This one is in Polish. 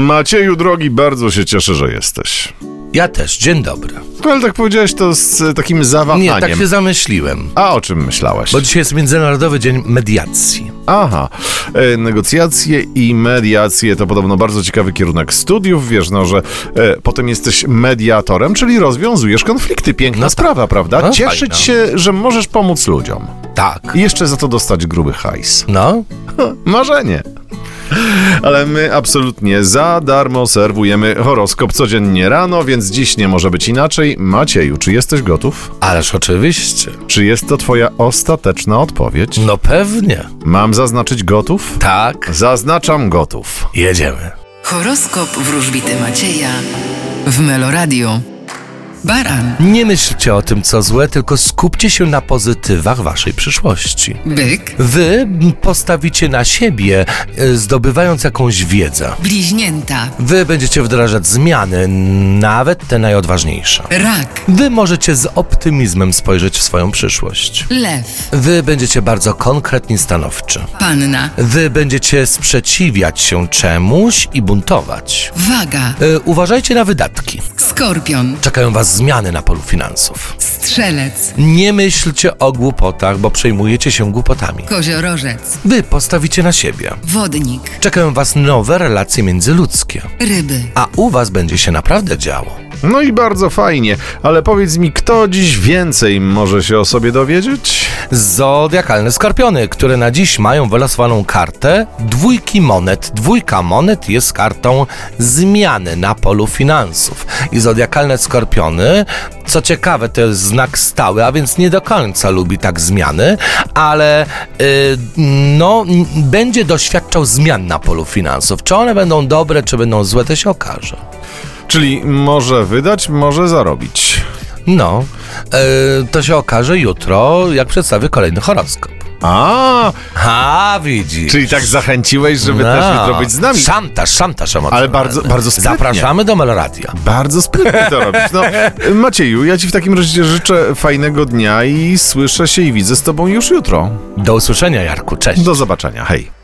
Macieju, drogi, bardzo się cieszę, że jesteś. Ja też, dzień dobry. No, Ale tak powiedziałeś to z e, takim zawahaniem. Nie, tak się zamyśliłem. A o czym myślałeś? Bo dzisiaj jest Międzynarodowy Dzień Mediacji. Aha, e, negocjacje i mediacje to podobno bardzo ciekawy kierunek studiów. Wiesz, no, że e, potem jesteś mediatorem, czyli rozwiązujesz konflikty. Piękna No tak. sprawa, prawda? No Cieszyć fajna. się, że możesz pomóc ludziom. Tak. I jeszcze za to dostać gruby hajs. No, Marzenie. Ale my absolutnie za darmo serwujemy horoskop codziennie rano, więc dziś nie może być inaczej. Macieju, czy jesteś gotów? ależ oczywiście. Czy jest to twoja ostateczna odpowiedź? No pewnie. Mam zaznaczyć gotów? Tak. Zaznaczam gotów. Jedziemy. Horoskop wróżbity Macieja w Meloradio. Baran, Nie myślcie o tym, co złe, tylko skupcie się na pozytywach waszej przyszłości. byk, Wy postawicie na siebie, e, zdobywając jakąś wiedzę. bliźnięta, Wy będziecie wdrażać zmiany, nawet te najodważniejsze. rak, Wy możecie z optymizmem spojrzeć w swoją przyszłość. lew, Wy będziecie bardzo konkretni i stanowczy. panna, Wy będziecie sprzeciwiać się czemuś i buntować. waga, E, Uważajcie na wydatki. skorpion, Czekają Was zmiany na polu finansów. strzelec, Nie myślcie o głupotach, bo przejmujecie się głupotami. koziorożec, Wy postawicie na siebie. wodnik, Czekają Was nowe relacje międzyludzkie. ryby, A u Was będzie się naprawdę działo. No i bardzo fajnie, ale powiedz mi, kto dziś więcej może się o sobie dowiedzieć? Zodiakalne skorpiony, które na dziś mają wylosowaną kartę dwójki monet. Dwójka monet jest kartą zmiany na polu finansów. I zodiakalne skorpiony, co ciekawe, to jest znak stały, a więc nie do końca lubi tak zmiany, ale y, no, n- będzie doświadczał zmian na polu finansów. Czy one będą dobre, czy będą złe, to się okaże. Czyli może wydać, może zarobić. No, y, to się okaże jutro, jak przedstawię kolejny horoskop. A, A, widzisz. czyli tak zachęciłeś, żeby też No. jutro być z nami. Szantaż, szantaż emocjonalny. Ale bardzo- bardzo sprytnie. Zapraszamy do Meloradia. Bardzo sprytnie to robisz. No, Macieju, ja ci w takim razie życzę fajnego dnia i słyszę się i widzę z tobą już jutro. Do usłyszenia, Jarku. Cześć. Do zobaczenia, hej.